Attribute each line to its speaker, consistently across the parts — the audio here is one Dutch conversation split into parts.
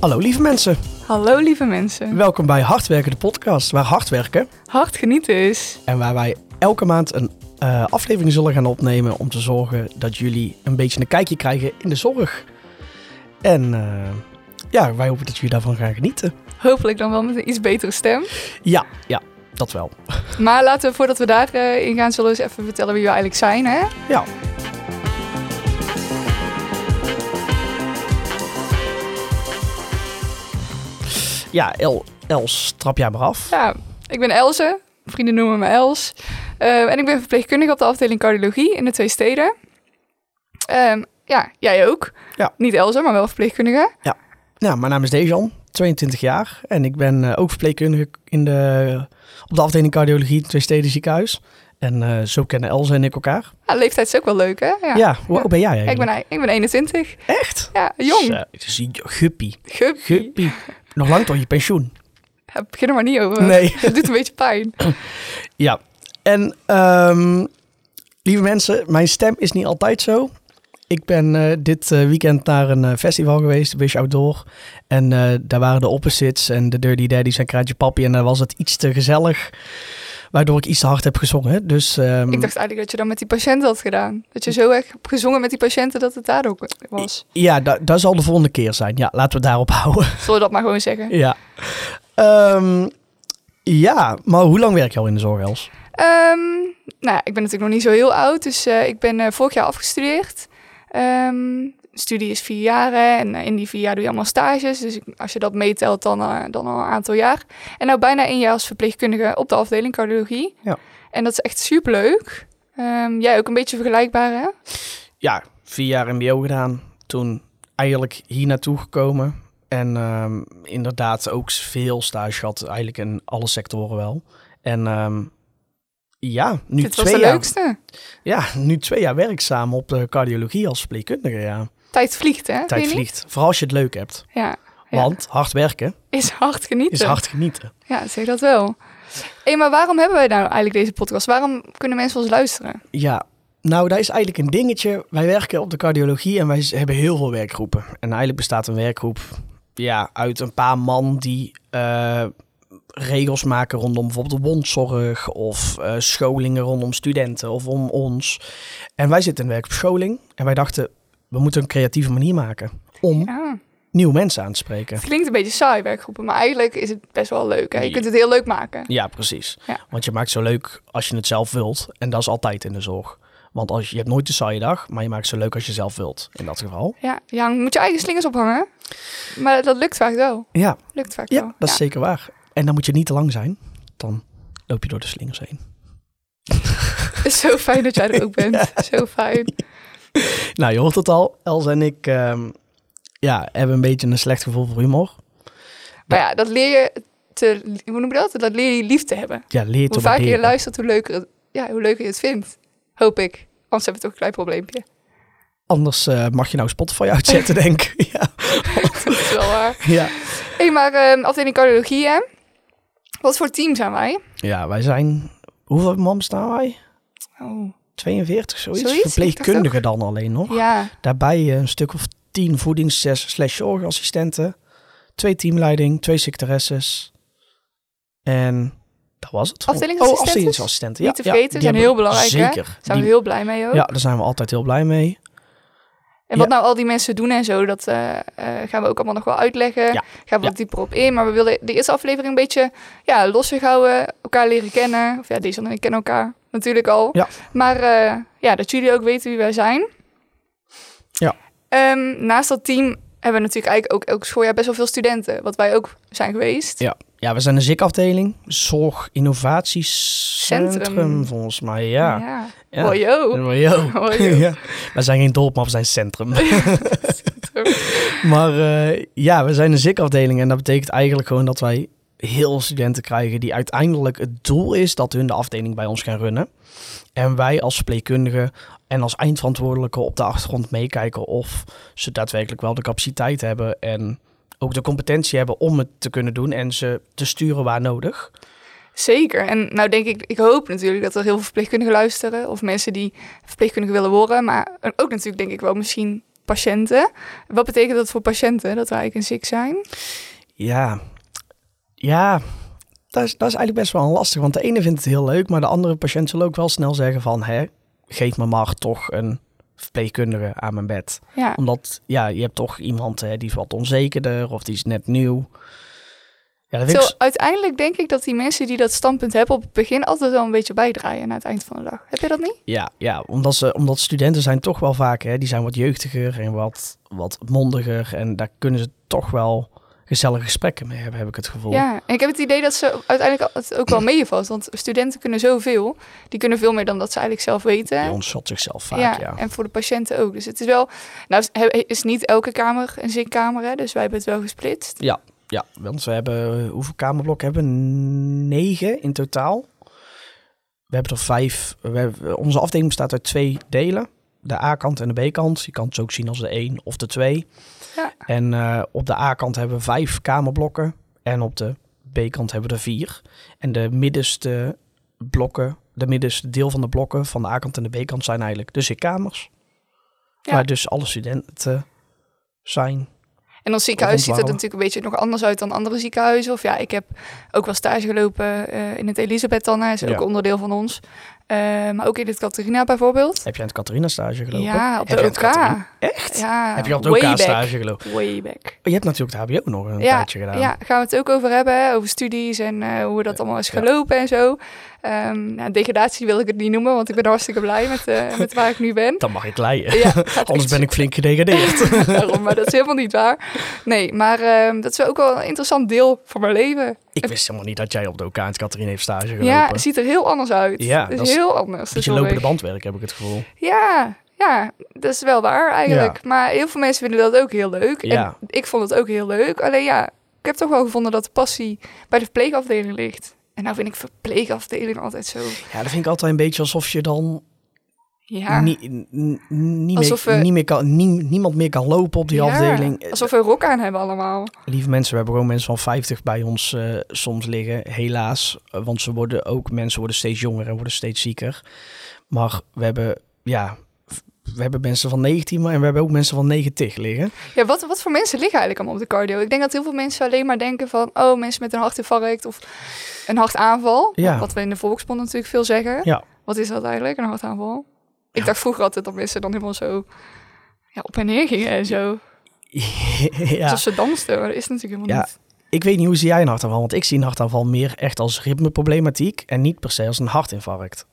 Speaker 1: Hallo lieve mensen,
Speaker 2: Hallo lieve mensen.
Speaker 1: welkom bij Hardwerken de podcast, waar hard werken
Speaker 2: Hard genieten is.
Speaker 1: en waar wij elke maand een eh, aflevering zullen gaan opnemen om te zorgen dat jullie een beetje een kijkje krijgen in de zorg. En eh, ja, wij hopen dat jullie daarvan gaan genieten.
Speaker 2: Hopelijk dan wel met een iets betere stem.
Speaker 1: Ja, ja, dat wel.
Speaker 2: Maar laten we voordat we daarin in gaan, zullen we eens even vertellen wie we eigenlijk zijn. Hè?
Speaker 1: Ja. Ja, El, Els, trap jij maar af.
Speaker 2: Ja, ik ben Elze. Vrienden noemen me Els. Eh, en ik ben verpleegkundige op de afdeling cardiologie in de twee steden. Ehm, ja, jij ook.
Speaker 1: Ja.
Speaker 2: Niet Elze, maar wel verpleegkundige.
Speaker 1: Nou, mijn naam is Dejan, 22 jaar. En ik ben eh, ook verpleegkundige in de, op de afdeling cardiologie, Twee Steden Ziekenhuis. En eh, zo kennen Els en ik elkaar.
Speaker 2: Ja, leeftijd is ook wel leuk, hè? Ja.
Speaker 1: Ja, hoe oud ben jij
Speaker 2: ik,
Speaker 1: eigenlijk?
Speaker 2: ben, ik ben 21.
Speaker 1: Echt?
Speaker 2: Ja, jong.
Speaker 1: Zo, Het is een guppie.
Speaker 2: Gup.
Speaker 1: Guppie. Nog lang tot je pensioen.
Speaker 2: Ja, begin er maar niet over.
Speaker 1: Nee.
Speaker 2: Het doet een beetje pijn.
Speaker 1: Ja. En ehm, lieve mensen, mijn stem is niet altijd zo. Ik ben eh, dit eh, weekend naar een eh, festival geweest, Wish Outdoor. En eh, daar waren de opposites en de Dirty Daddies en Kraatje Papi. En daar was het iets te gezellig, waardoor ik iets te hard heb gezongen. Dus ehm,
Speaker 2: Ik dacht eigenlijk dat je dat met die patiënten had gedaan. Dat je zo erg hebt gezongen met die patiënten dat het daar ook was.
Speaker 1: ja, da- dat zal de volgende keer zijn. Ja, laten we het daarop houden.
Speaker 2: Zullen we dat maar gewoon zeggen?
Speaker 1: ja. Ehm, ja, maar hoe lang werk je al in de zorg, Els?
Speaker 2: Ehm, nou ja, ik ben natuurlijk nog niet zo heel oud, dus eh, ik ben eh, vorig jaar afgestudeerd. Ehm, de studie is vier jaar hè, en eh, in die vier jaar doe je allemaal stages. Dus ik- als je dat meetelt, dan, eh, dan al een aantal jaar. En nou bijna één jaar als verpleegkundige op de afdeling cardiologie.
Speaker 1: Ja.
Speaker 2: En dat is echt superleuk. Ehm jij ook een beetje vergelijkbaar, hè?
Speaker 1: ja, vier jaar MBO gedaan. Toen eigenlijk hier naartoe gekomen. En ehm, inderdaad ook veel stage gehad, eigenlijk in alle sectoren wel. En ehm, ja, nu
Speaker 2: Dit was
Speaker 1: twee
Speaker 2: de
Speaker 1: jaar,
Speaker 2: leukste.
Speaker 1: ja, nu twee jaar werkzaam op de cardiologie als verpleegkundige. Ja.
Speaker 2: Tijd vliegt, hè? Vind
Speaker 1: Tijd
Speaker 2: je niet?
Speaker 1: vliegt, vooral als je het leuk hebt.
Speaker 2: Ja. Ja.
Speaker 1: Want hard werken
Speaker 2: Is hard genieten.
Speaker 1: is hard genieten.
Speaker 2: Ja, zeg dat wel. Hé, maar waarom hebben wij nou eigenlijk deze podcast? Waarom kunnen mensen ons luisteren?
Speaker 1: Ja, nou, dat is eigenlijk een dingetje. Wij werken op de cardiologie en wij z- hebben heel veel werkgroepen. En eigenlijk bestaat een werkgroep ja, uit een paar man die eh, regels maken rondom bijvoorbeeld de wondzorg of eh, scholingen rondom studenten of om ons. En wij zitten in een werkgroep scholing en wij dachten, we moeten een creatieve manier maken om
Speaker 2: Ja.
Speaker 1: nieuwe mensen aan te spreken.
Speaker 2: Het klinkt een beetje saai, werkgroepen, maar eigenlijk is het best wel leuk. Hè? Je kunt het heel leuk maken.
Speaker 1: Ja, precies.
Speaker 2: Ja.
Speaker 1: Want je maakt zo leuk als je het zelf wilt. En dat is altijd in de zorg. Want als, je hebt nooit een saaie dag, maar je maakt het zo leuk als je zelf wilt. In dat geval.
Speaker 2: Ja, je hangt- moet je eigen slingers ophangen. Maar dat lukt vaak wel.
Speaker 1: Ja,
Speaker 2: Lukt vaak
Speaker 1: ja
Speaker 2: wel.
Speaker 1: dat is zeker waar. En dan moet je niet te lang zijn. Dan loop je door de slingers heen.
Speaker 2: Het is zo fijn dat jij er ook bent. Zo fijn.
Speaker 1: Nou, je hoort het al. Els en ik ehm, ja, hebben een beetje een slecht gevoel voor humor.
Speaker 2: Maar ja, dat leer je te... Hoe noem je dat? Dat leer je lief te hebben.
Speaker 1: Ja, leer te
Speaker 2: Hoe vaker je
Speaker 1: waarderen.
Speaker 2: luistert, hoe leuker, het, ja, hoe leuker je het vindt. Hoop ik. Anders hebben we toch een klein probleempje.
Speaker 1: Anders eh, mag je nou Spotify uitzetten, denk ik. Ja.
Speaker 2: Dat is wel waar.
Speaker 1: ja.
Speaker 2: Hé, maar ehm afdeling cardiologie, hè? Wat voor team zijn wij?
Speaker 1: ja, wij zijn... Hoeveel man staan wij?
Speaker 2: Oh,
Speaker 1: 42, zoiets?
Speaker 2: Zoiets? Ik dacht
Speaker 1: Verpleegkundigen dan alleen nog.
Speaker 2: ja.
Speaker 1: Daarbij eh, een stuk of tien voedings- slash zorgassistenten. Twee teamleiding, twee secretaresses. En dat was het.
Speaker 2: Afdelingsassistenten?
Speaker 1: Oh, afdelingsassistenten. Ja,
Speaker 2: Niet te vergeten,
Speaker 1: die
Speaker 2: zijn
Speaker 1: hebben-
Speaker 2: heel belangrijk, hè?
Speaker 1: Zeker.
Speaker 2: Zijn we
Speaker 1: Die-
Speaker 2: heel blij mee ook.
Speaker 1: ja, daar zijn we altijd heel blij mee.
Speaker 2: En wat
Speaker 1: ja.
Speaker 2: nou al die mensen doen en zo, dat eh, eh, gaan we ook allemaal nog wel uitleggen.
Speaker 1: Ja.
Speaker 2: Gaan we
Speaker 1: Ja.
Speaker 2: wat dieper op in. Maar we willen de eerste aflevering een beetje ja, losser houden. Elkaar leren kennen. Of ja, deze en ik kennen elkaar natuurlijk al.
Speaker 1: Ja.
Speaker 2: Maar eh, ja, dat jullie ook weten wie wij zijn.
Speaker 1: Ja.
Speaker 2: Ehm, naast dat team hebben we natuurlijk eigenlijk ook elk schooljaar best wel veel studenten. Wat wij ook zijn geweest.
Speaker 1: Ja. ja, we zijn een ZIK-afdeling. Zorg Innovatiecentrum,
Speaker 2: Centrum.
Speaker 1: volgens mij. Ja.
Speaker 2: ja.
Speaker 1: Ja.
Speaker 2: Hoi, yo.
Speaker 1: Ja, maar yo.
Speaker 2: Hoi, yo.
Speaker 1: Ja. We zijn geen dorp, maar we zijn centrum.
Speaker 2: Centrum.
Speaker 1: maar eh, ja, we zijn een ZIK-afdeling en dat betekent eigenlijk gewoon dat wij heel veel studenten krijgen die uiteindelijk het doel is dat hun de afdeling bij ons gaan runnen. En wij als verpleegkundigen en als eindverantwoordelijke op de achtergrond meekijken of ze daadwerkelijk wel de capaciteit hebben en ook de competentie hebben om het te kunnen doen en ze te sturen waar nodig.
Speaker 2: Zeker. En nou denk ik, ik hoop natuurlijk dat er heel veel verpleegkundigen luisteren. Of mensen die verpleegkundige willen worden. Maar ook natuurlijk denk ik wel misschien patiënten. Wat betekent dat voor patiënten, dat we eigenlijk een ziek zijn?
Speaker 1: Ja, ja dat, is, dat is eigenlijk best wel lastig. Want de ene vindt het heel leuk, maar de andere patiënt zal ook wel snel zeggen van... Hè, geef me maar toch een verpleegkundige aan mijn bed.
Speaker 2: Ja,
Speaker 1: Omdat, ja, je hebt toch iemand hè, die is wat onzekerder of die is net nieuw. Ja, dat vind ik
Speaker 2: Zo, uiteindelijk denk ik dat die mensen die dat standpunt hebben op het begin altijd wel een beetje bijdraaien aan het eind van de dag. Heb je dat niet?
Speaker 1: Ja, ja omdat, ze, omdat studenten zijn toch wel vaak, hè, die zijn wat jeugdiger en wat, wat mondiger. En daar kunnen ze toch wel gezellige gesprekken mee hebben, heb ik het gevoel.
Speaker 2: Ja, en ik heb het idee dat ze uiteindelijk het ook wel meevalt. Want studenten kunnen zoveel. Die kunnen veel meer dan dat ze eigenlijk zelf weten.
Speaker 1: Die ontschat zichzelf vaak, ja. ja.
Speaker 2: en voor de patiënten ook. Dus het is wel... Nou is- he- is niet elke kamer een ziekkamer, hè? Dus wij hebben het wel gesplitst.
Speaker 1: want we hebben, hoeveel kamerblokken hebben we? Negen in totaal. We hebben er vijf. We hebben- onze afdeling bestaat uit twee delen. De A-kant en de B-kant. Je kan het ook zien als de één of de twee.
Speaker 2: Ja.
Speaker 1: En eh, op de A-kant hebben we vijf kamerblokken. En op de B-kant hebben we er vier. En de middenste blokken, de middenste deel van de blokken van de A-kant en de B-kant zijn eigenlijk de zitkamers.
Speaker 2: Ja.
Speaker 1: Waar dus alle studenten zijn.
Speaker 2: En ons ziekenhuis ziet er
Speaker 1: Rondwandelen.
Speaker 2: natuurlijk een beetje nog anders uit dan andere ziekenhuizen. Of ja, ik heb ook wel stage gelopen eh, in het Elisabeth dan. hè, is ook
Speaker 1: Ja.
Speaker 2: onderdeel van ons. Eh, maar ook in het Catharina bijvoorbeeld.
Speaker 1: Heb jij aan het Catharina stage gelopen?
Speaker 2: Ja,
Speaker 1: Heb
Speaker 2: op de
Speaker 1: je aan het
Speaker 2: OK.
Speaker 1: Catharina- Echt?
Speaker 2: Ja,
Speaker 1: Heb je al het
Speaker 2: way back.
Speaker 1: OK stage gelopen?
Speaker 2: Way back.
Speaker 1: Je hebt natuurlijk het HBO nog een
Speaker 2: Ja,
Speaker 1: tijdje gedaan.
Speaker 2: Ja, gaan we het ook over hebben, hè, over studies en eh, hoe dat allemaal is gelopen en zo. Ehm, nou, degradatie wil ik het niet noemen, want ik ben hartstikke blij met, eh, met waar ik nu ben.
Speaker 1: Dan mag ik leiden.
Speaker 2: Ja, gaat
Speaker 1: Anders
Speaker 2: echt
Speaker 1: ben ik flink gedegradeerd.
Speaker 2: Daarom, maar dat is helemaal niet waar. Nee, maar ehm, dat is ook wel een interessant deel van mijn leven.
Speaker 1: ik wist helemaal niet dat jij op de OK aan het Catharina heeft stage gelopen.
Speaker 2: Ja, het ziet er heel anders uit.
Speaker 1: Ja,
Speaker 2: het is
Speaker 1: dat is
Speaker 2: heel anders.
Speaker 1: Beetje
Speaker 2: de zorg.
Speaker 1: lopende bandwerk heb ik het gevoel.
Speaker 2: Ja, ja, dat is wel waar eigenlijk. Maar heel veel mensen vinden dat ook heel leuk.
Speaker 1: Ja.
Speaker 2: En ik vond het ook heel leuk. Alleen ja, ik heb toch wel gevonden dat de passie bij de verpleegafdeling ligt. En nou vind ik verpleegafdeling altijd zo.
Speaker 1: Ja, dat vind ik altijd een beetje alsof je dan
Speaker 2: Ja.
Speaker 1: niet, n- n- niet,
Speaker 2: Alsof
Speaker 1: meer,
Speaker 2: we-
Speaker 1: niet meer kan, nie- niemand meer kan lopen op die
Speaker 2: Ja,
Speaker 1: afdeling. Eh,
Speaker 2: Alsof we een rok aan hebben allemaal.
Speaker 1: Lieve mensen, we hebben gewoon mensen van 50 bij ons eh, soms liggen, helaas. Eh, Want ze worden ook, mensen worden steeds jonger en worden steeds zieker. Maar we hebben, ja, we hebben mensen van 19, maar en we hebben ook mensen van 90 liggen.
Speaker 2: Ja, wat, wat voor mensen liggen eigenlijk allemaal op de cardio? Ik denk dat heel veel mensen alleen maar denken van... oh, mensen met een hartinfarct of een hartaanval.
Speaker 1: Ja.
Speaker 2: Wat we in de volksmond natuurlijk veel zeggen.
Speaker 1: Ja.
Speaker 2: Wat is dat eigenlijk, een hartaanval? Ik
Speaker 1: Ja.
Speaker 2: dacht vroeger altijd dat mensen dan helemaal zo... Ja, op en neer gingen en zo.
Speaker 1: ja.
Speaker 2: Alsof ze dansten, maar dat is natuurlijk helemaal
Speaker 1: Ja.
Speaker 2: niet.
Speaker 1: Ik weet niet hoe zie jij een hartaanval, want ik zie een hartaanval meer echt als ritmeproblematiek en niet per se als een hartinfarct.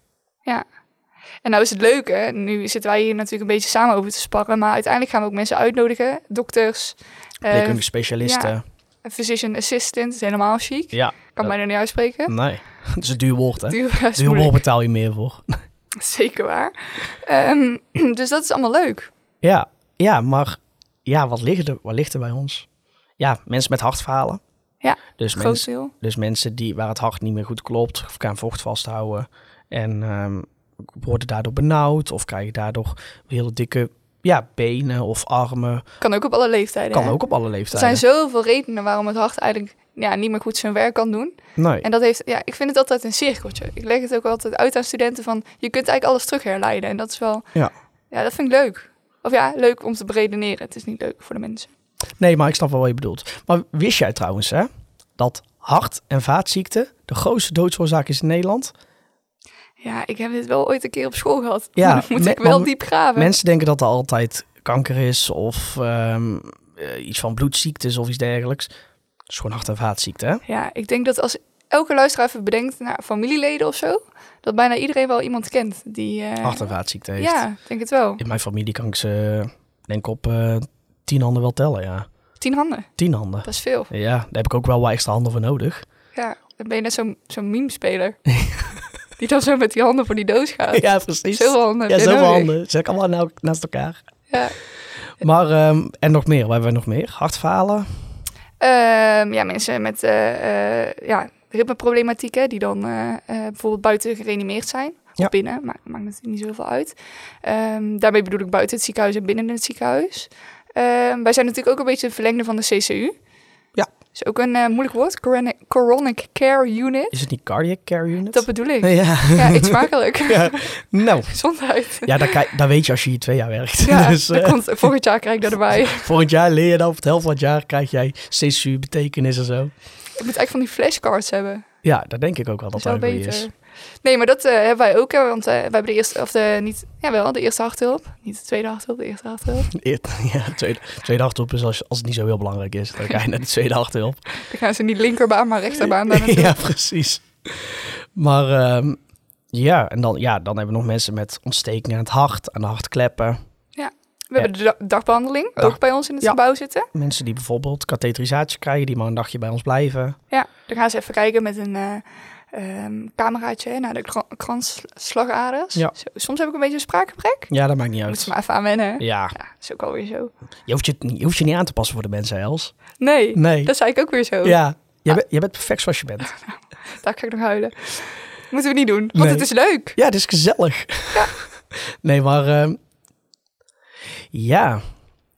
Speaker 2: En nou is het leuke, nu zitten wij hier natuurlijk een beetje samen over te sparren... maar uiteindelijk gaan we ook mensen uitnodigen. Dokters, eh
Speaker 1: Verpleegkundige specialisten. Ja.
Speaker 2: physician assistant, dat is helemaal chic. Kan
Speaker 1: dat-
Speaker 2: bijna niet uitspreken.
Speaker 1: Nee, dat is een duur woord hè.
Speaker 2: Duur, ja, is
Speaker 1: Duur woord
Speaker 2: moeilijk.
Speaker 1: betaal je meer voor.
Speaker 2: Zeker waar. Ehm, dus dat is allemaal leuk.
Speaker 1: Ja, ja maar ja, wat, ligt er, wat ligt er bij ons? Ja, mensen met hartfalen.
Speaker 2: Ja,
Speaker 1: dus,
Speaker 2: Groot
Speaker 1: mensen,
Speaker 2: deel.
Speaker 1: dus mensen die, waar het hart niet meer goed klopt, of kan vocht vasthouden en ehm, worden daardoor benauwd of krijgen daardoor hele dikke ja, benen of armen.
Speaker 2: Kan ook op alle leeftijden.
Speaker 1: Kan
Speaker 2: hè?
Speaker 1: ook op alle
Speaker 2: Er
Speaker 1: leeftijden.
Speaker 2: zijn zoveel redenen waarom het hart eigenlijk ja, niet meer goed zijn werk kan doen.
Speaker 1: nee.
Speaker 2: En dat heeft, ja, ik vind het altijd een cirkeltje. Ik leg het ook altijd uit aan studenten van, je kunt eigenlijk alles terugherleiden. En dat is wel,
Speaker 1: Ja.
Speaker 2: ja, dat vind ik leuk. Of ja, leuk om te beredeneren. Het is niet leuk voor de mensen.
Speaker 1: nee, maar ik snap wel wat je bedoelt. Maar wist jij trouwens hè, dat hart- en vaatziekten de grootste doodsoorzaak is in Nederland?
Speaker 2: Ja, ik heb dit wel ooit een keer op school gehad.
Speaker 1: Ja,
Speaker 2: Ja, dan moet
Speaker 1: me-
Speaker 2: ik wel
Speaker 1: maar
Speaker 2: diep graven.
Speaker 1: Mensen denken dat er altijd kanker is of ehm, eh, iets van bloedziektes of iets dergelijks. Het is gewoon hart- en vaatziekte, hè?
Speaker 2: Ja, ik denk dat als elke luisteraar even bedenkt naar familieleden of zo, dat bijna iedereen wel iemand kent die. eh,
Speaker 1: Hart- en vaatziekte heeft.
Speaker 2: Ja, ik denk het wel.
Speaker 1: In mijn familie kan ik ze, denk ik, op eh, tien handen wel tellen, ja.
Speaker 2: Tien handen,
Speaker 1: Tien handen.
Speaker 2: dat is veel.
Speaker 1: Ja, daar heb ik ook wel wat extra handen voor nodig.
Speaker 2: Ja, dan ben je net zo'n zo'n meme-speler. die dan zo met die handen voor die doos gaat.
Speaker 1: Ja, precies.
Speaker 2: Oh, Zoveel handen.
Speaker 1: ja,
Speaker 2: heb je
Speaker 1: zoveel
Speaker 2: nodig.
Speaker 1: handen. Zeg allemaal nou- naast elkaar.
Speaker 2: Ja.
Speaker 1: Maar, ehm, en nog meer. Wat hebben we nog meer? Hartfalen.
Speaker 2: Ehm, ja, mensen met eh eh ja, ritmeproblematiek, hè, die dan eh, eh, bijvoorbeeld buiten gereanimeerd zijn.
Speaker 1: Ja.
Speaker 2: Of binnen, maar maakt natuurlijk niet zoveel uit. Ehm, daarmee bedoel ik buiten het ziekenhuis en binnen het ziekenhuis. Ehm, wij zijn natuurlijk ook een beetje het verlengde van de CCU.
Speaker 1: Ja.
Speaker 2: is ook een eh, moeilijk woord. Coronic, coronic care unit.
Speaker 1: Is het niet cardiac care unit?
Speaker 2: Dat bedoel ik.
Speaker 1: ja.
Speaker 2: Ja, eet smakelijk.
Speaker 1: Ja, Nou,
Speaker 2: Gezondheid.
Speaker 1: ja, dat, kijk- dat weet je als je hier twee jaar werkt.
Speaker 2: Ja,
Speaker 1: dus,
Speaker 2: dat
Speaker 1: eh,
Speaker 2: komt, volgend jaar krijg ik dat erbij.
Speaker 1: volgend jaar leer je dan, op het helft van het jaar krijg jij CSU, betekenis en zo.
Speaker 2: Ik moet eigenlijk van die flashcards hebben.
Speaker 1: Ja, dat denk ik ook wel dat
Speaker 2: Dat is
Speaker 1: dat
Speaker 2: wel
Speaker 1: een goeie
Speaker 2: beter.
Speaker 1: is.
Speaker 2: Nee, maar dat eh, hebben wij ook. Hè, want eh, wij hebben de eerste, of de, niet, jawel, de eerste harthulp. Niet de tweede harthulp, de eerste harthulp.
Speaker 1: Eer- Ja, tweede, tweede achterhulp is als, als het niet zo heel belangrijk is. Dan ga je naar de tweede achterhulp.
Speaker 2: Dan gaan ze niet linkerbaan, maar rechterbaan. Daar naartoe.
Speaker 1: ja, precies. Maar ehm, ja, en dan, ja, dan hebben we nog mensen met ontstekingen aan het hart, aan de hartkleppen.
Speaker 2: We hebben de da- dagbehandeling
Speaker 1: Dag-
Speaker 2: ook bij ons in het
Speaker 1: Ja.
Speaker 2: gebouw zitten.
Speaker 1: Mensen die bijvoorbeeld katheterisatie krijgen, die maar een dagje bij ons blijven.
Speaker 2: Ja, dan gaan ze even kijken met een eh, ehm, cameraatje hè, naar de kra- kransslagaders.
Speaker 1: Ja.
Speaker 2: Zo, soms heb ik een beetje een spraakgebrek.
Speaker 1: Ja, dat maakt niet
Speaker 2: Moet
Speaker 1: uit.
Speaker 2: je maar even aan wennen. hè.
Speaker 1: Ja,
Speaker 2: Ja, is ook alweer zo.
Speaker 1: je hoeft je, het niet- je hoeft je niet aan te passen voor de mensen, hè, Els.
Speaker 2: Nee,
Speaker 1: Nee.
Speaker 2: dat zei ik ook weer zo. Ah.
Speaker 1: Ja, jij, bent- jij bent perfect zoals je bent.
Speaker 2: Daar ga ik nog huilen. Moeten we niet doen, want
Speaker 1: Nee.
Speaker 2: het is leuk.
Speaker 1: Ja, het is gezellig. Nee, maar ehm, ja.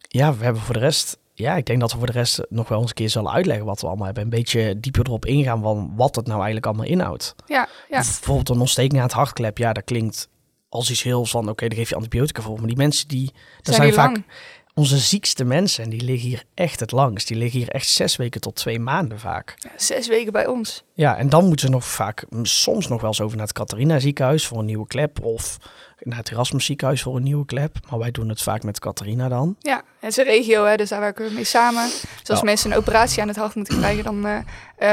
Speaker 1: ja, we hebben voor de rest... Ja, ik denk dat we voor de rest nog wel eens een keer zullen uitleggen wat we allemaal hebben. Een beetje dieper erop ingaan van wat het nou eigenlijk allemaal inhoudt.
Speaker 2: Ja, ja.
Speaker 1: Bijvoorbeeld een ontsteking aan het hartklep. Ja, dat klinkt als iets heel van... Oké, dan geef je antibiotica voor. Maar die mensen die... Dat zijn,
Speaker 2: die
Speaker 1: vaak
Speaker 2: lang?
Speaker 1: onze ziekste mensen. En die liggen hier echt het langst. Die liggen hier echt zes weken tot twee maanden vaak.
Speaker 2: Ja, Zes weken bij ons.
Speaker 1: Ja, en dan moeten ze nog vaak, m, soms nog wel eens over naar het Catharina ziekenhuis voor een nieuwe klep. Of naar het Erasmus ziekenhuis voor een nieuwe klep. Maar wij doen het vaak met Catharina dan.
Speaker 2: Ja, het is een regio, hè, dus daar werken we mee samen. Dus als
Speaker 1: Ja.
Speaker 2: mensen een operatie aan het hart moeten krijgen, dan eh,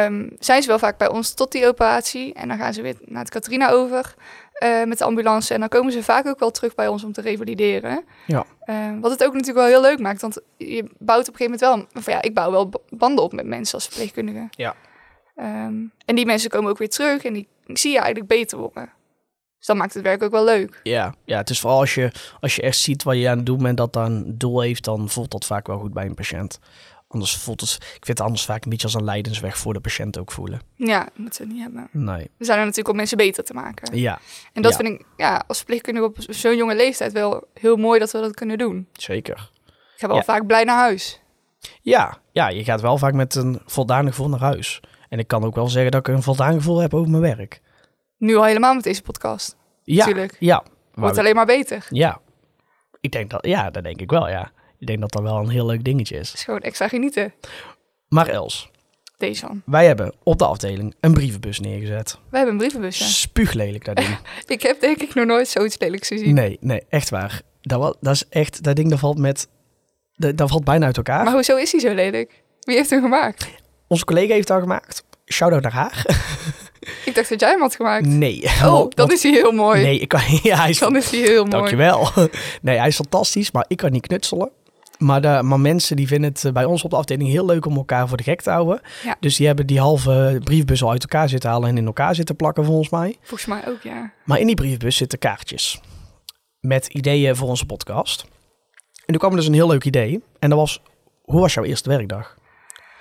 Speaker 2: ehm, zijn ze wel vaak bij ons tot die operatie. En dan gaan ze weer naar het Katrina over eh, met de ambulance. En dan komen ze vaak ook wel terug bij ons om te revalideren.
Speaker 1: Ja.
Speaker 2: Eh, wat het ook natuurlijk wel heel leuk maakt, want je bouwt op een gegeven moment wel... Of ja, ik bouw wel b- banden op met mensen als verpleegkundige.
Speaker 1: Ja.
Speaker 2: Ehm, en die mensen komen ook weer terug en die zie je eigenlijk beter worden. Dus dat maakt het werk ook wel leuk.
Speaker 1: Ja, ja het is vooral als je, als je echt ziet wat je aan het doen bent, dat daar een doel heeft, dan voelt dat vaak wel goed bij een patiënt. Anders voelt het, ik vind het anders vaak een beetje als een leidensweg voor de patiënt ook voelen.
Speaker 2: Ja, dat moeten we niet hebben.
Speaker 1: Nee.
Speaker 2: We zijn er natuurlijk om mensen beter te maken.
Speaker 1: Ja,
Speaker 2: En dat
Speaker 1: Ja.
Speaker 2: vind ik ja, als verpleegkundige op zo'n jonge leeftijd wel heel mooi dat we dat kunnen doen.
Speaker 1: zeker.
Speaker 2: Ik ga wel
Speaker 1: Ja.
Speaker 2: vaak blij naar huis.
Speaker 1: Ja, ja, je gaat wel vaak met een voldaan gevoel naar huis. En ik kan ook wel zeggen dat ik een voldaan gevoel heb over mijn werk.
Speaker 2: Nu al helemaal met deze podcast.
Speaker 1: Ja,
Speaker 2: Tuurlijk.
Speaker 1: ja. Maar
Speaker 2: Wordt alleen maar beter.
Speaker 1: Ja, ik denk dat, ja, dat denk ik wel, ja. Ik denk dat dat wel een heel leuk dingetje is.
Speaker 2: Het is gewoon extra genieten.
Speaker 1: Maar Els,
Speaker 2: Deze van.
Speaker 1: wij hebben op de afdeling een brievenbus neergezet.
Speaker 2: We hebben een brievenbusje.
Speaker 1: Spuuglelijk dat ding.
Speaker 2: Ik heb denk ik nog nooit zoiets lelijks gezien.
Speaker 1: Nee, nee, echt waar. Dat, wa- dat is echt, dat ding dat valt met, dat, dat valt bijna uit elkaar.
Speaker 2: Maar hoezo is hij zo lelijk? Wie heeft hem gemaakt?
Speaker 1: Onze collega heeft dat gemaakt. Shout-out naar haar.
Speaker 2: Ik dacht dat jij hem had gemaakt.
Speaker 1: Nee.
Speaker 2: Oh, dan is hij heel mooi.
Speaker 1: Nee, ik kan, ja, hij is
Speaker 2: Dan is hij heel mooi.
Speaker 1: Dankjewel. Nee, hij is fantastisch, maar ik kan niet knutselen. Maar, de, maar mensen die vinden het eh, bij ons op de afdeling heel leuk om elkaar voor de gek te houden.
Speaker 2: Ja.
Speaker 1: Dus die hebben die halve briefbus al uit elkaar zitten halen en in elkaar zitten plakken volgens mij.
Speaker 2: Volgens mij ook, ja.
Speaker 1: Maar in die briefbus zitten kaartjes met ideeën voor onze podcast. En toen kwam er dus een heel leuk idee. En dat was, hoe was jouw eerste werkdag?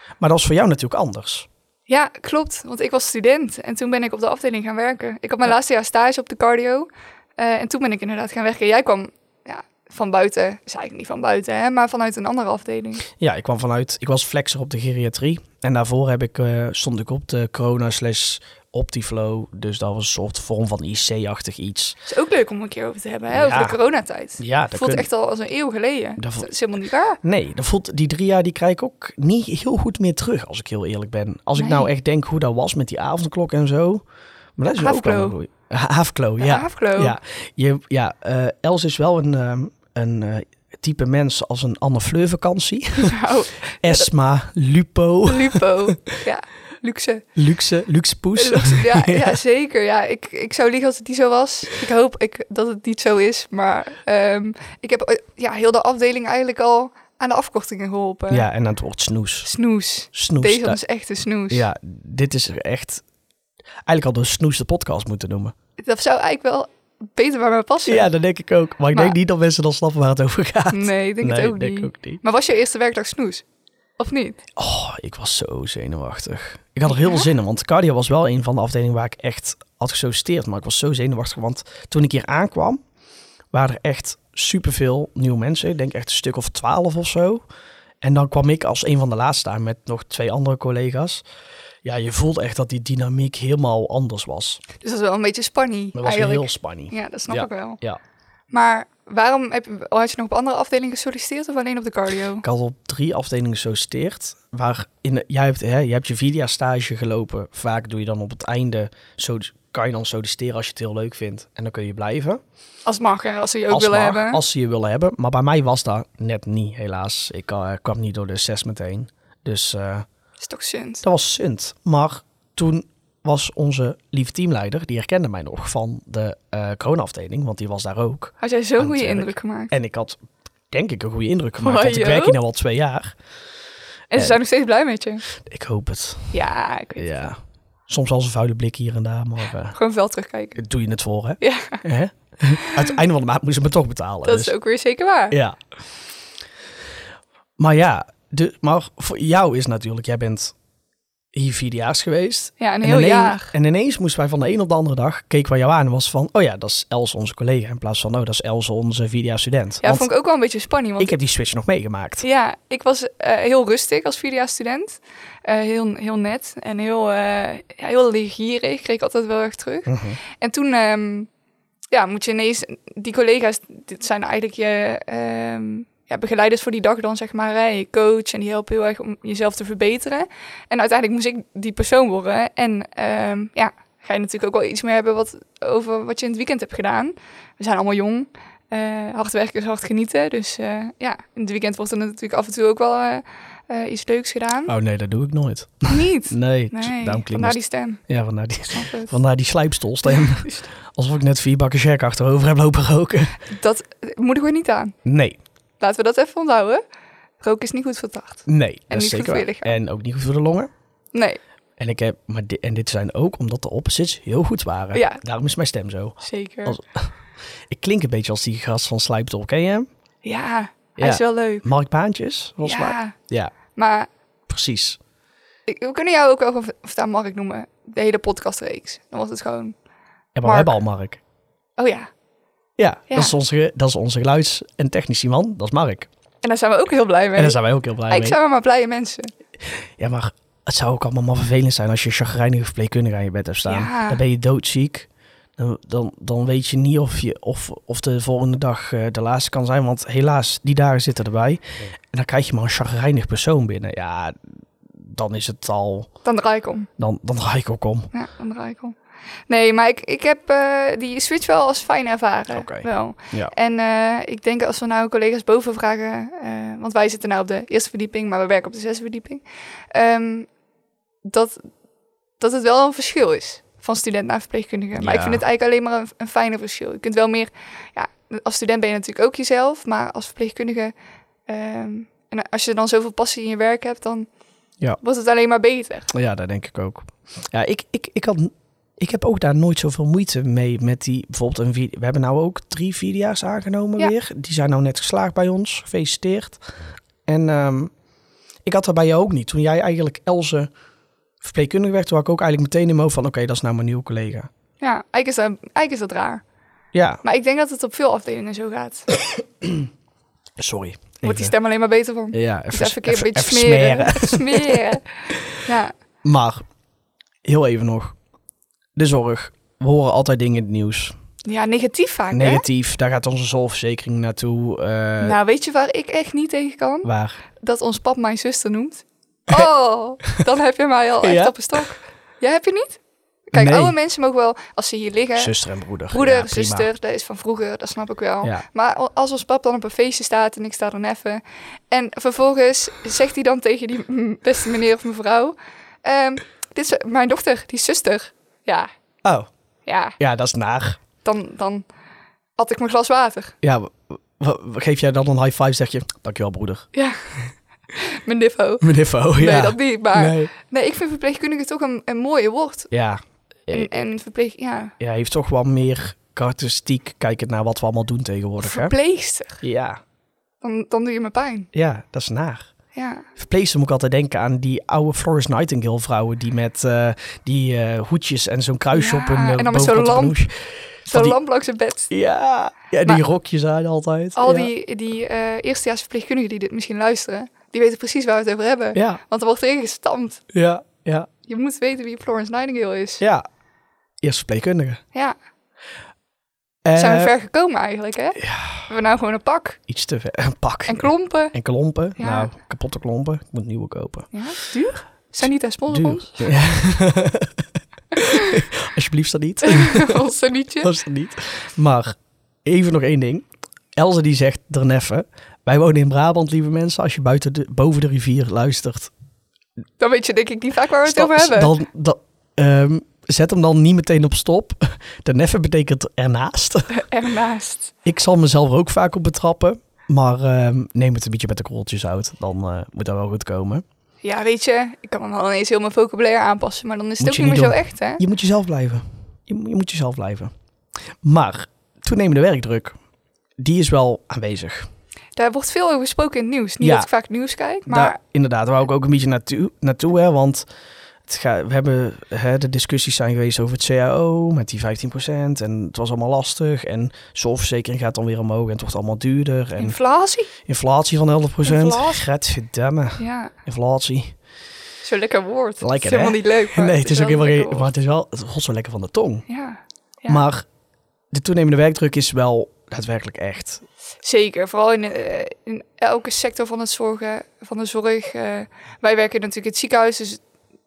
Speaker 1: Maar dat was voor jou natuurlijk anders.
Speaker 2: Ja, klopt. Want ik was student en toen ben ik op de afdeling gaan werken. Ik had mijn laatste jaar stage op de cardio. eh, en toen ben ik inderdaad gaan werken. Jij kwam ja, van buiten, is eigenlijk niet van buiten, hè, maar vanuit een andere afdeling.
Speaker 1: Ja, ik kwam vanuit, ik was flexer op de geriatrie. En daarvoor heb ik, eh, stond ik op de corona slash optiflow. Dus dat was een soort vorm van IC-achtig iets.
Speaker 2: Het is ook leuk om een keer over te hebben, hè, over
Speaker 1: Ja.
Speaker 2: de coronatijd. Het
Speaker 1: Ja, dat
Speaker 2: voelt
Speaker 1: kun-
Speaker 2: echt al als een eeuw geleden.
Speaker 1: Dat
Speaker 2: Dat,
Speaker 1: voelt-
Speaker 2: is helemaal niet waar.
Speaker 1: Nee, dat voelt, die drie jaar die krijg ik ook niet heel goed meer terug, als ik heel eerlijk ben. Als ik
Speaker 2: Nee.
Speaker 1: nou echt denk hoe dat was met die avondklok en zo. Maar dat is ook wel
Speaker 2: Haafklo.
Speaker 1: een goeie. Ha- Haafklo, ja.
Speaker 2: Oh, Ja, Afklo.
Speaker 1: Ja, je, ja eh, Els is wel een, ehm, een eh, type mens als een Anne Fleur vakantie.
Speaker 2: Nou,
Speaker 1: Esma, Lupo,
Speaker 2: Lupo. ja, luxe.
Speaker 1: Luxe, Luxe Poes.
Speaker 2: Luxe, Dus Ja, ja, zeker. Ja, ik, ik zou liegen als het niet zo was. Ik hoop ik, dat het niet zo is. Maar ehm, ik heb eh, ja, heel de afdeling eigenlijk al aan de afkortingen geholpen.
Speaker 1: Ja, en dan het woord snoes.
Speaker 2: Snoes.
Speaker 1: Snoes.
Speaker 2: Deze
Speaker 1: dat-
Speaker 2: is echt een snoes.
Speaker 1: ja, dit is echt... Eigenlijk hadden we snoes de podcast moeten noemen.
Speaker 2: Dat zou eigenlijk wel beter bij mij passen.
Speaker 1: Ja, dat denk ik ook. Maar ik denk
Speaker 2: Maar-
Speaker 1: niet dat mensen dan snappen waar het over gaat.
Speaker 2: Nee, ik denk
Speaker 1: nee,
Speaker 2: het ook
Speaker 1: denk
Speaker 2: niet.
Speaker 1: ik ook niet.
Speaker 2: Maar was je eerste werkdag snoes? Of niet?
Speaker 1: Oh, ik was zo zenuwachtig. Ik had er heel veel zin in, want cardio was wel een van de afdelingen waar ik echt had gesolliciteerd. Maar ik was zo zenuwachtig, want toen ik hier aankwam, waren er echt superveel nieuwe mensen. Ik denk echt een stuk of twaalf of zo. En dan kwam ik als een van de laatste daar met nog twee andere collega's. Ja, je voelt echt dat die dynamiek helemaal anders was.
Speaker 2: Dus dat is wel een beetje spanning
Speaker 1: Dat was
Speaker 2: eigenlijk.
Speaker 1: heel spanning.
Speaker 2: Ah, Ja, dat snap
Speaker 1: Ja.
Speaker 2: ik wel.
Speaker 1: Ja.
Speaker 2: Maar waarom heb, je- had je nog op andere afdelingen gesolliciteerd of alleen op de cardio?
Speaker 1: Ik had op drie afdelingen gesolliciteerd. Waar in, jij, hebt, hè, je hebt je vier jaar stage gelopen. Vaak doe je dan op het einde, so, kan je dan solliciteren als je het heel leuk vindt. En dan kun je blijven.
Speaker 2: Als het mag, hè, als ze je ook
Speaker 1: als,
Speaker 2: willen
Speaker 1: mag,
Speaker 2: hebben.
Speaker 1: als ze je willen hebben. Maar bij mij was dat net niet, helaas. Ik eh, kwam niet door de assessment heen. Dus eh,
Speaker 2: Is toch zint.
Speaker 1: dat was zint. Maar toen was onze lieve teamleider, die herkende mij nog van de eh corona-afdeling. Want die was daar ook.
Speaker 2: Had jij zo'n goede
Speaker 1: Natuurlijk.
Speaker 2: indruk gemaakt.
Speaker 1: En ik had, denk ik, een goede indruk gemaakt. Want ik
Speaker 2: Wajo.
Speaker 1: werk hier nu al twee jaar.
Speaker 2: En ze
Speaker 1: Eh.
Speaker 2: zijn nog steeds blij met je.
Speaker 1: Ik hoop het.
Speaker 2: Ja, ik weet het.
Speaker 1: Ja. Soms wel eens een vuile blik hier en daar, maar eh,
Speaker 2: Gewoon wel terugkijken.
Speaker 1: doe je het voor, hè?
Speaker 2: Ja.
Speaker 1: Hè? Aan het einde van de maand moesten ze me toch betalen.
Speaker 2: Dat
Speaker 1: dus,
Speaker 2: is ook weer zeker waar.
Speaker 1: Ja. Maar ja, de, maar voor jou is natuurlijk, jij bent hier vierdejaars geweest.
Speaker 2: Ja, een heel
Speaker 1: ineens,
Speaker 2: jaar.
Speaker 1: En ineens moesten wij van de een op de andere dag, keken wij jou aan en was van, oh ja, dat is Els onze collega. In plaats van, oh, dat is Els onze vierdejaars student.
Speaker 2: Ja,
Speaker 1: Want
Speaker 2: vond ik ook wel een beetje spanning. Want
Speaker 1: ik heb die switch nog meegemaakt.
Speaker 2: Ja, ik was eh, heel rustig als vierdejaars student. Eh, heel, heel net en heel, eh, ja, heel legierig. Kreeg ik altijd wel erg terug.
Speaker 1: Mhm.
Speaker 2: En toen ehm, ja, moet je ineens... Die collega's, dit zijn eigenlijk je ehm, ja, begeleiders voor die dag dan, zeg maar. Hè, je coach en die helpen heel erg om jezelf te verbeteren. En uiteindelijk moest ik die persoon worden. En ehm, ja, ga je natuurlijk ook wel iets meer hebben wat, over wat je in het weekend hebt gedaan. We zijn allemaal jong. eh, hard werken is hard genieten. Dus eh, ja, in het weekend wordt er natuurlijk af en toe ook wel eh, eh, iets leuks gedaan.
Speaker 1: Oh nee, dat doe ik nooit.
Speaker 2: Niet.
Speaker 1: Nee,
Speaker 2: Nee,
Speaker 1: daarom Nou, klinkt
Speaker 2: vandaar
Speaker 1: mijn
Speaker 2: die stem.
Speaker 1: Ja, vandaar die,
Speaker 2: Snap het.
Speaker 1: vandaar nou, die slijpstolstem. Alsof ik net vier bakken sherk achterover heb lopen roken.
Speaker 2: Dat moedigen we niet aan.
Speaker 1: Nee,
Speaker 2: Laten we dat even onthouden. Roken is niet goed voor het hart.
Speaker 1: nee, dat is
Speaker 2: niet goed
Speaker 1: zeker
Speaker 2: voor
Speaker 1: waar.
Speaker 2: je lichaam.
Speaker 1: En ook niet goed voor de longen.
Speaker 2: Nee,
Speaker 1: En, ik heb, maar di- en dit zijn ook omdat de opposites heel goed waren.
Speaker 2: Ja.
Speaker 1: Daarom is mijn stem zo.
Speaker 2: zeker.
Speaker 1: Als- Ik klink een beetje als die gast van Slijptol. Ken je hem?
Speaker 2: Ja,
Speaker 1: Ja.
Speaker 2: hij is wel leuk.
Speaker 1: Mark Baantjes, volgens mij.
Speaker 2: Ja,
Speaker 1: Ja,
Speaker 2: maar
Speaker 1: precies.
Speaker 2: ik- we kunnen jou ook wel gewoon Vertaan Mark noemen. De hele podcastreeks. Dan was het gewoon...
Speaker 1: En we
Speaker 2: Mark.
Speaker 1: hebben al Mark.
Speaker 2: Oh ja,
Speaker 1: Ja,
Speaker 2: Ja.
Speaker 1: Dat, is onze, dat is onze geluids- en technici man. Dat is Mark.
Speaker 2: en daar zijn we ook heel blij mee.
Speaker 1: En daar zijn wij ook heel blij mee.
Speaker 2: Eigenlijk zijn we maar blije mensen.
Speaker 1: Ja, maar het zou ook allemaal maar vervelend zijn als je een chagrijnige verpleegkundige aan je bed hebt staan.
Speaker 2: Ja.
Speaker 1: Dan ben je doodziek. Dan, dan, dan weet je niet of, je, of, of de volgende dag eh, de laatste kan zijn. Want helaas, die dagen zitten erbij. En dan krijg je maar een chagrijnig persoon binnen. Ja, dan is het al...
Speaker 2: Dan draai ik om.
Speaker 1: Dan, dan draai ik ook om.
Speaker 2: Ja, dan draai ik om. Nee, maar ik, ik heb eh, die switch wel als fijn ervaren.
Speaker 1: Oké.
Speaker 2: Wel.
Speaker 1: Ja.
Speaker 2: En eh, ik denk als we nou collega's boven vragen, eh, want wij zitten nou op de eerste verdieping, maar we werken op de zesde verdieping, ehm, dat, dat het wel een verschil is van student naar verpleegkundige. Maar
Speaker 1: Ja.
Speaker 2: ik vind het eigenlijk alleen maar een, een fijner verschil. Je kunt wel meer, ja, als student ben je natuurlijk ook jezelf, maar als verpleegkundige, ehm, en als je dan zoveel passie in je werk hebt, dan
Speaker 1: Ja.
Speaker 2: wordt het alleen maar beter.
Speaker 1: Ja, dat denk ik ook. Ja, ik, ik, ik, had, ik heb ook daar nooit zoveel moeite mee met die... Bijvoorbeeld, een, vier- we hebben nou ook drie vierdejaars aangenomen
Speaker 2: Ja.
Speaker 1: weer. Die zijn nou net geslaagd bij ons. Gefeliciteerd. En ehm, ik had dat bij jou ook niet. Toen jij eigenlijk Elze verpleegkundige werd... toen had ik ook eigenlijk meteen in mijn hoofd van... oké, dat is nou mijn nieuwe collega.
Speaker 2: Ja, eigenlijk is, dat, eigenlijk is dat raar.
Speaker 1: Ja,
Speaker 2: Maar ik denk dat het op veel afdelingen zo gaat.
Speaker 1: sorry.
Speaker 2: Wordt die
Speaker 1: Even-
Speaker 2: stem alleen maar beter van.
Speaker 1: Ja,
Speaker 2: Dus
Speaker 1: even,
Speaker 2: even, een keer een beetje
Speaker 1: even
Speaker 2: smeren. smeren. Ja,
Speaker 1: Maar, heel even nog. De zorg. We horen altijd dingen in het nieuws.
Speaker 2: ja, negatief vaak. hè?
Speaker 1: Negatief, daar gaat onze zorgverzekering naartoe. eh,
Speaker 2: Nou, weet je waar ik echt niet tegen kan?
Speaker 1: Waar?
Speaker 2: Dat ons pap mijn zuster noemt. Oh, dan heb je mij al echt
Speaker 1: Ja?
Speaker 2: op een stok. Jij heb je niet? Kijk,
Speaker 1: Nee.
Speaker 2: oude mensen mogen wel, als ze hier liggen,
Speaker 1: Zuster en broeder.
Speaker 2: broeder,
Speaker 1: Ja, prima.
Speaker 2: zuster, dat is van vroeger, dat snap ik wel.
Speaker 1: Ja.
Speaker 2: Maar al- als ons pap dan op een feestje staat en ik sta dan even. En vervolgens zegt hij dan tegen die mm, beste meneer of mevrouw: ehm, Dit is mijn dochter, die is zuster. Ja,
Speaker 1: Oh,
Speaker 2: ja.
Speaker 1: ja, dat is naar.
Speaker 2: dan, dan had ik mijn glas water.
Speaker 1: Ja, w- w- geef jij dan een high five, zeg je, dankjewel broeder.
Speaker 2: Ja, mijn niffo.
Speaker 1: Meneer Fo, Oh, ja.
Speaker 2: Nee, dat niet. Maar nee,
Speaker 1: Nee.
Speaker 2: ik vind verpleegkundige toch een, een mooie woord.
Speaker 1: Ja.
Speaker 2: En, en verpleeg, ja,
Speaker 1: ja, hij heeft toch wel meer karakteristiek kijkend naar wat we allemaal doen tegenwoordig, hè?
Speaker 2: verpleegster.
Speaker 1: Ja,
Speaker 2: Dan, dan doe je me pijn.
Speaker 1: ja, dat is naar.
Speaker 2: Ja,
Speaker 1: Verpleegster moet ik altijd denken aan die oude Florence Nightingale vrouwen die met eh, die eh, hoedjes en zo'n kruisje
Speaker 2: Ja,
Speaker 1: op hun eh,
Speaker 2: en dan met
Speaker 1: bovenkant
Speaker 2: zo'n
Speaker 1: op hun
Speaker 2: lamp.
Speaker 1: hoesje.
Speaker 2: zo'n
Speaker 1: die-
Speaker 2: lamp langs het bed.
Speaker 1: Ja, ja die
Speaker 2: Maar-
Speaker 1: rokjes aan altijd.
Speaker 2: Al
Speaker 1: Ja.
Speaker 2: die, die eh, eerstejaars verpleegkundigen die dit misschien luisteren, die weten precies waar we het over hebben.
Speaker 1: Ja,
Speaker 2: Want er wordt erin gestampt.
Speaker 1: ja, ja.
Speaker 2: Je moet weten wie Florence Nightingale is. Ja,
Speaker 1: Ja, eerst verpleegkundige.
Speaker 2: zijn we
Speaker 1: Eh,
Speaker 2: ver gekomen eigenlijk, hè? We hebben nou gewoon een pak
Speaker 1: Iets te ver. Een pak.
Speaker 2: en klompen.
Speaker 1: En klompen.
Speaker 2: Ja.
Speaker 1: Nou, kapotte klompen. Ik moet nieuwe kopen.
Speaker 2: Ja, duur. Zijn niet aan sponsor ons?
Speaker 1: Duur. Ja. Alsjeblieft, dat niet.
Speaker 2: ons liedje.
Speaker 1: Was dat niet. Maar even nog één ding. Elze die zegt derneffen. Wij wonen in Brabant, lieve mensen. Als je buiten de, boven de rivier luistert.
Speaker 2: Dan weet je denk ik niet vaak waar we het
Speaker 1: sta-
Speaker 2: over hebben.
Speaker 1: Dan, dan, ehm, zet hem dan niet meteen op stop. Derneffen betekent ernaast.
Speaker 2: Ernaast.
Speaker 1: Ik zal mezelf er ook vaak op betrappen. Maar ehm, neem het een beetje met de korreltjes uit. Dan eh, moet dat wel goed komen.
Speaker 2: Ja, weet je, ik kan dan wel ineens heel mijn vocabulaire aanpassen, maar dan is het
Speaker 1: Moet
Speaker 2: ook
Speaker 1: je
Speaker 2: niet meer
Speaker 1: niet
Speaker 2: zo echt, hè?
Speaker 1: Je moet jezelf blijven. Je, mo- je moet jezelf blijven. Maar toenemende werkdruk, die is wel aanwezig.
Speaker 2: Daar wordt veel over gesproken in het nieuws. Niet
Speaker 1: Ja.
Speaker 2: dat ik vaak nieuws kijk, maar
Speaker 1: Daar, inderdaad, waar ik ook een beetje naartoe, naartoe hè, want het ga, we hebben, hè, de discussies zijn geweest over het CAO met die 15% en het was allemaal lastig en zorgverzekering gaat dan weer omhoog en het wordt allemaal duurder en
Speaker 2: inflatie.
Speaker 1: inflatie van 11%.
Speaker 2: Inflatie.
Speaker 1: Gadverdamme,
Speaker 2: Ja,
Speaker 1: inflatie.
Speaker 2: zo'n lekker woord.
Speaker 1: Lekker,
Speaker 2: het is helemaal
Speaker 1: hè?
Speaker 2: niet leuk. maar
Speaker 1: Nee, het is ook
Speaker 2: wel
Speaker 1: helemaal
Speaker 2: een
Speaker 1: geen, maar
Speaker 2: lekker woord.
Speaker 1: het is wel, het rolt zo lekker van de tong.
Speaker 2: Ja, ja.
Speaker 1: Maar de toenemende werkdruk is wel daadwerkelijk echt.
Speaker 2: zeker. Vooral in, eh, in elke sector van, het zorgen, van de zorg. eh, wij werken natuurlijk in het ziekenhuis, dus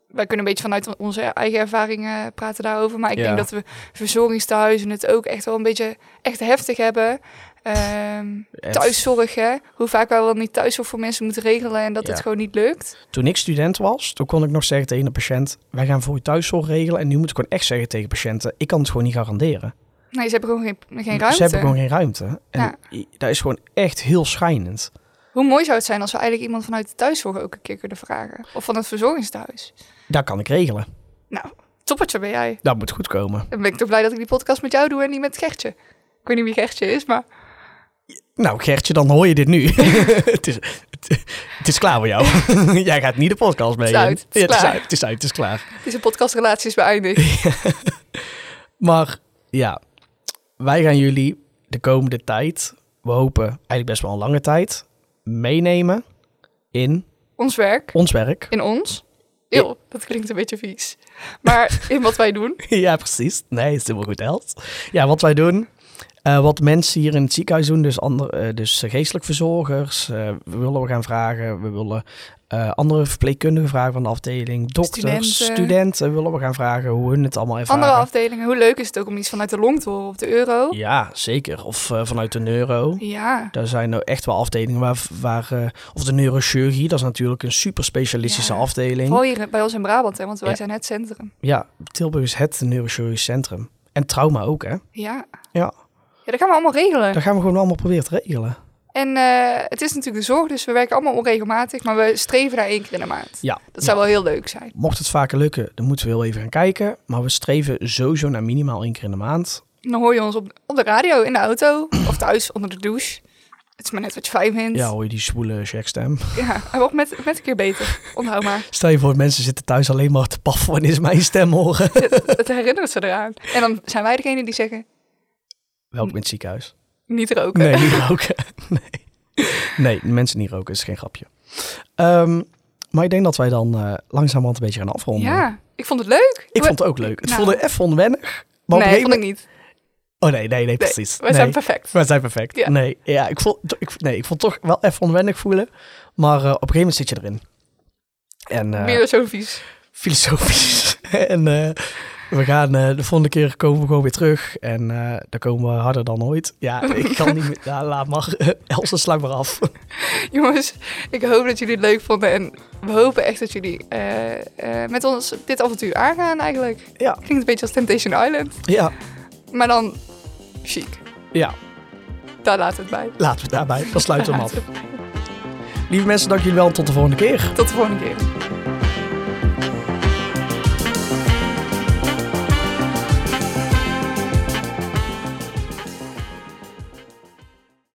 Speaker 2: wij kunnen een beetje vanuit onze eigen ervaringen praten daarover. Maar ik
Speaker 1: Ja.
Speaker 2: denk dat we verzorgingstehuizen het ook echt wel een beetje echt heftig hebben. Ehm
Speaker 1: Echt.
Speaker 2: thuiszorg, hè? Hoe vaak wij wel niet thuiszorg voor mensen moeten regelen en dat
Speaker 1: Ja.
Speaker 2: het gewoon niet lukt.
Speaker 1: Toen ik student was, toen kon ik nog zeggen tegen de patiënt... wij gaan voor je thuiszorg regelen. En nu moet ik gewoon echt zeggen tegen patiënten... ik kan het gewoon niet garanderen.
Speaker 2: Nee, ze hebben gewoon geen, geen ruimte.
Speaker 1: Ze hebben gewoon geen ruimte. En
Speaker 2: Ja.
Speaker 1: i- dat is gewoon echt heel schijnend.
Speaker 2: Hoe mooi zou het zijn als we eigenlijk iemand vanuit de thuiszorg ook een keer kunnen vragen? Of van het verzorgingstehuis?
Speaker 1: Dat kan ik regelen.
Speaker 2: Nou, toppertje ben jij.
Speaker 1: Dat moet goed komen.
Speaker 2: Dan ben ik toch blij dat ik die podcast met jou doe en niet met Gertje. Ik weet niet wie Gertje is, maar
Speaker 1: Nou Gertje, dan hoor je dit nu. het, is, het, het is klaar voor jou. Jij gaat niet de podcast mee.
Speaker 2: Het is uit, het is
Speaker 1: Ja,
Speaker 2: klaar.
Speaker 1: uit, het is uit, het is klaar.
Speaker 2: deze podcastrelatie is beëindigd.
Speaker 1: Maar ja, wij gaan jullie de komende tijd... we hopen eigenlijk best wel een lange tijd... meenemen in
Speaker 2: Ons werk,
Speaker 1: ons werk...
Speaker 2: in ons. Eeuw, dat klinkt een beetje vies. Maar in wat wij doen.
Speaker 1: Ja, precies. Nee, is helemaal goed, Els. Ja, wat wij doen, eh, wat mensen hier in het ziekenhuis doen, dus, ander, eh, dus geestelijk verzorgers, eh, we willen we gaan vragen, we willen eh, andere verpleegkundigen vragen van de afdeling, dokters,
Speaker 2: Studenten.
Speaker 1: studenten. willen we gaan vragen hoe hun het allemaal ervaren.
Speaker 2: Andere afdelingen. Hoe leuk is het ook om iets vanuit de long te horen op de euro?
Speaker 1: Ja, zeker. Of eh, vanuit de neuro.
Speaker 2: Ja.
Speaker 1: Daar zijn nou echt wel afdelingen waar, waar eh, of de neurochirurgie, dat is natuurlijk een super specialistische
Speaker 2: Ja.
Speaker 1: afdeling.
Speaker 2: Vooral hier bij ons in Brabant, hè, want wij
Speaker 1: Ja.
Speaker 2: zijn het centrum.
Speaker 1: Ja, Tilburg is het neurochirurgisch centrum. En trauma ook, hè?
Speaker 2: Ja.
Speaker 1: Ja.
Speaker 2: Ja, dat gaan we allemaal regelen.
Speaker 1: Dat gaan we gewoon allemaal proberen te regelen.
Speaker 2: En eh, het is natuurlijk de zorg, dus we werken allemaal onregelmatig, maar we streven naar één keer in de maand.
Speaker 1: Ja.
Speaker 2: Dat zou wel heel leuk zijn.
Speaker 1: Mocht het vaker lukken, dan moeten we heel even gaan kijken. Maar we streven sowieso naar minimaal één keer in de maand.
Speaker 2: En Dan hoor je ons op, op de radio, in de auto of thuis onder de douche. Het is maar net wat je fijn vindt.
Speaker 1: Ja, hoor je die zwoele checkstem.
Speaker 2: Ja, hij wordt met, met een keer beter. Onthoud maar.
Speaker 1: Stel je voor, mensen zitten thuis alleen maar te paffen wanneer ze mijn stem horen.
Speaker 2: Het, het herinnert ze eraan. En dan zijn wij degene die zeggen,
Speaker 1: Welkom in het ziekenhuis.
Speaker 2: niet roken.
Speaker 1: Nee, niet roken. Nee, nee mensen niet roken, is geen grapje. Ehm, maar ik denk dat wij dan eh langzamerhand een beetje gaan afronden.
Speaker 2: Ja, ik vond het leuk.
Speaker 1: Ik vond het ook leuk. Het
Speaker 2: Nou.
Speaker 1: voelde even onwennig. Maar op een
Speaker 2: Nee,
Speaker 1: gegeven
Speaker 2: vond ik niet.
Speaker 1: moment- Oh nee, nee, nee,
Speaker 2: Nee,
Speaker 1: precies.
Speaker 2: we zijn
Speaker 1: Nee.
Speaker 2: perfect.
Speaker 1: We zijn perfect.
Speaker 2: Ja.
Speaker 1: Nee, ja, ik vond, ik, nee, ik vond toch wel even onwennig voelen. Maar eh, op een gegeven moment zit je erin. En eh,
Speaker 2: Weer zo vies.
Speaker 1: filosofisch. en eh, we gaan eh, de volgende keer komen we gewoon weer terug. En eh dan komen we harder dan ooit. Ja, ik kan niet meer. Ja, laat maar. Elsa, sluit maar af.
Speaker 2: Jongens, ik hoop dat jullie het leuk vonden. En we hopen echt dat jullie eh, eh, met ons dit avontuur aangaan eigenlijk.
Speaker 1: ja,
Speaker 2: Klinkt een beetje als Temptation Island.
Speaker 1: ja,
Speaker 2: Maar dan chic.
Speaker 1: ja.
Speaker 2: Daar laat het bij.
Speaker 1: Laten we het daarbij. Dan sluiten we hem af. Lieve mensen, dank jullie wel. en Tot de volgende keer.
Speaker 2: Tot de volgende keer.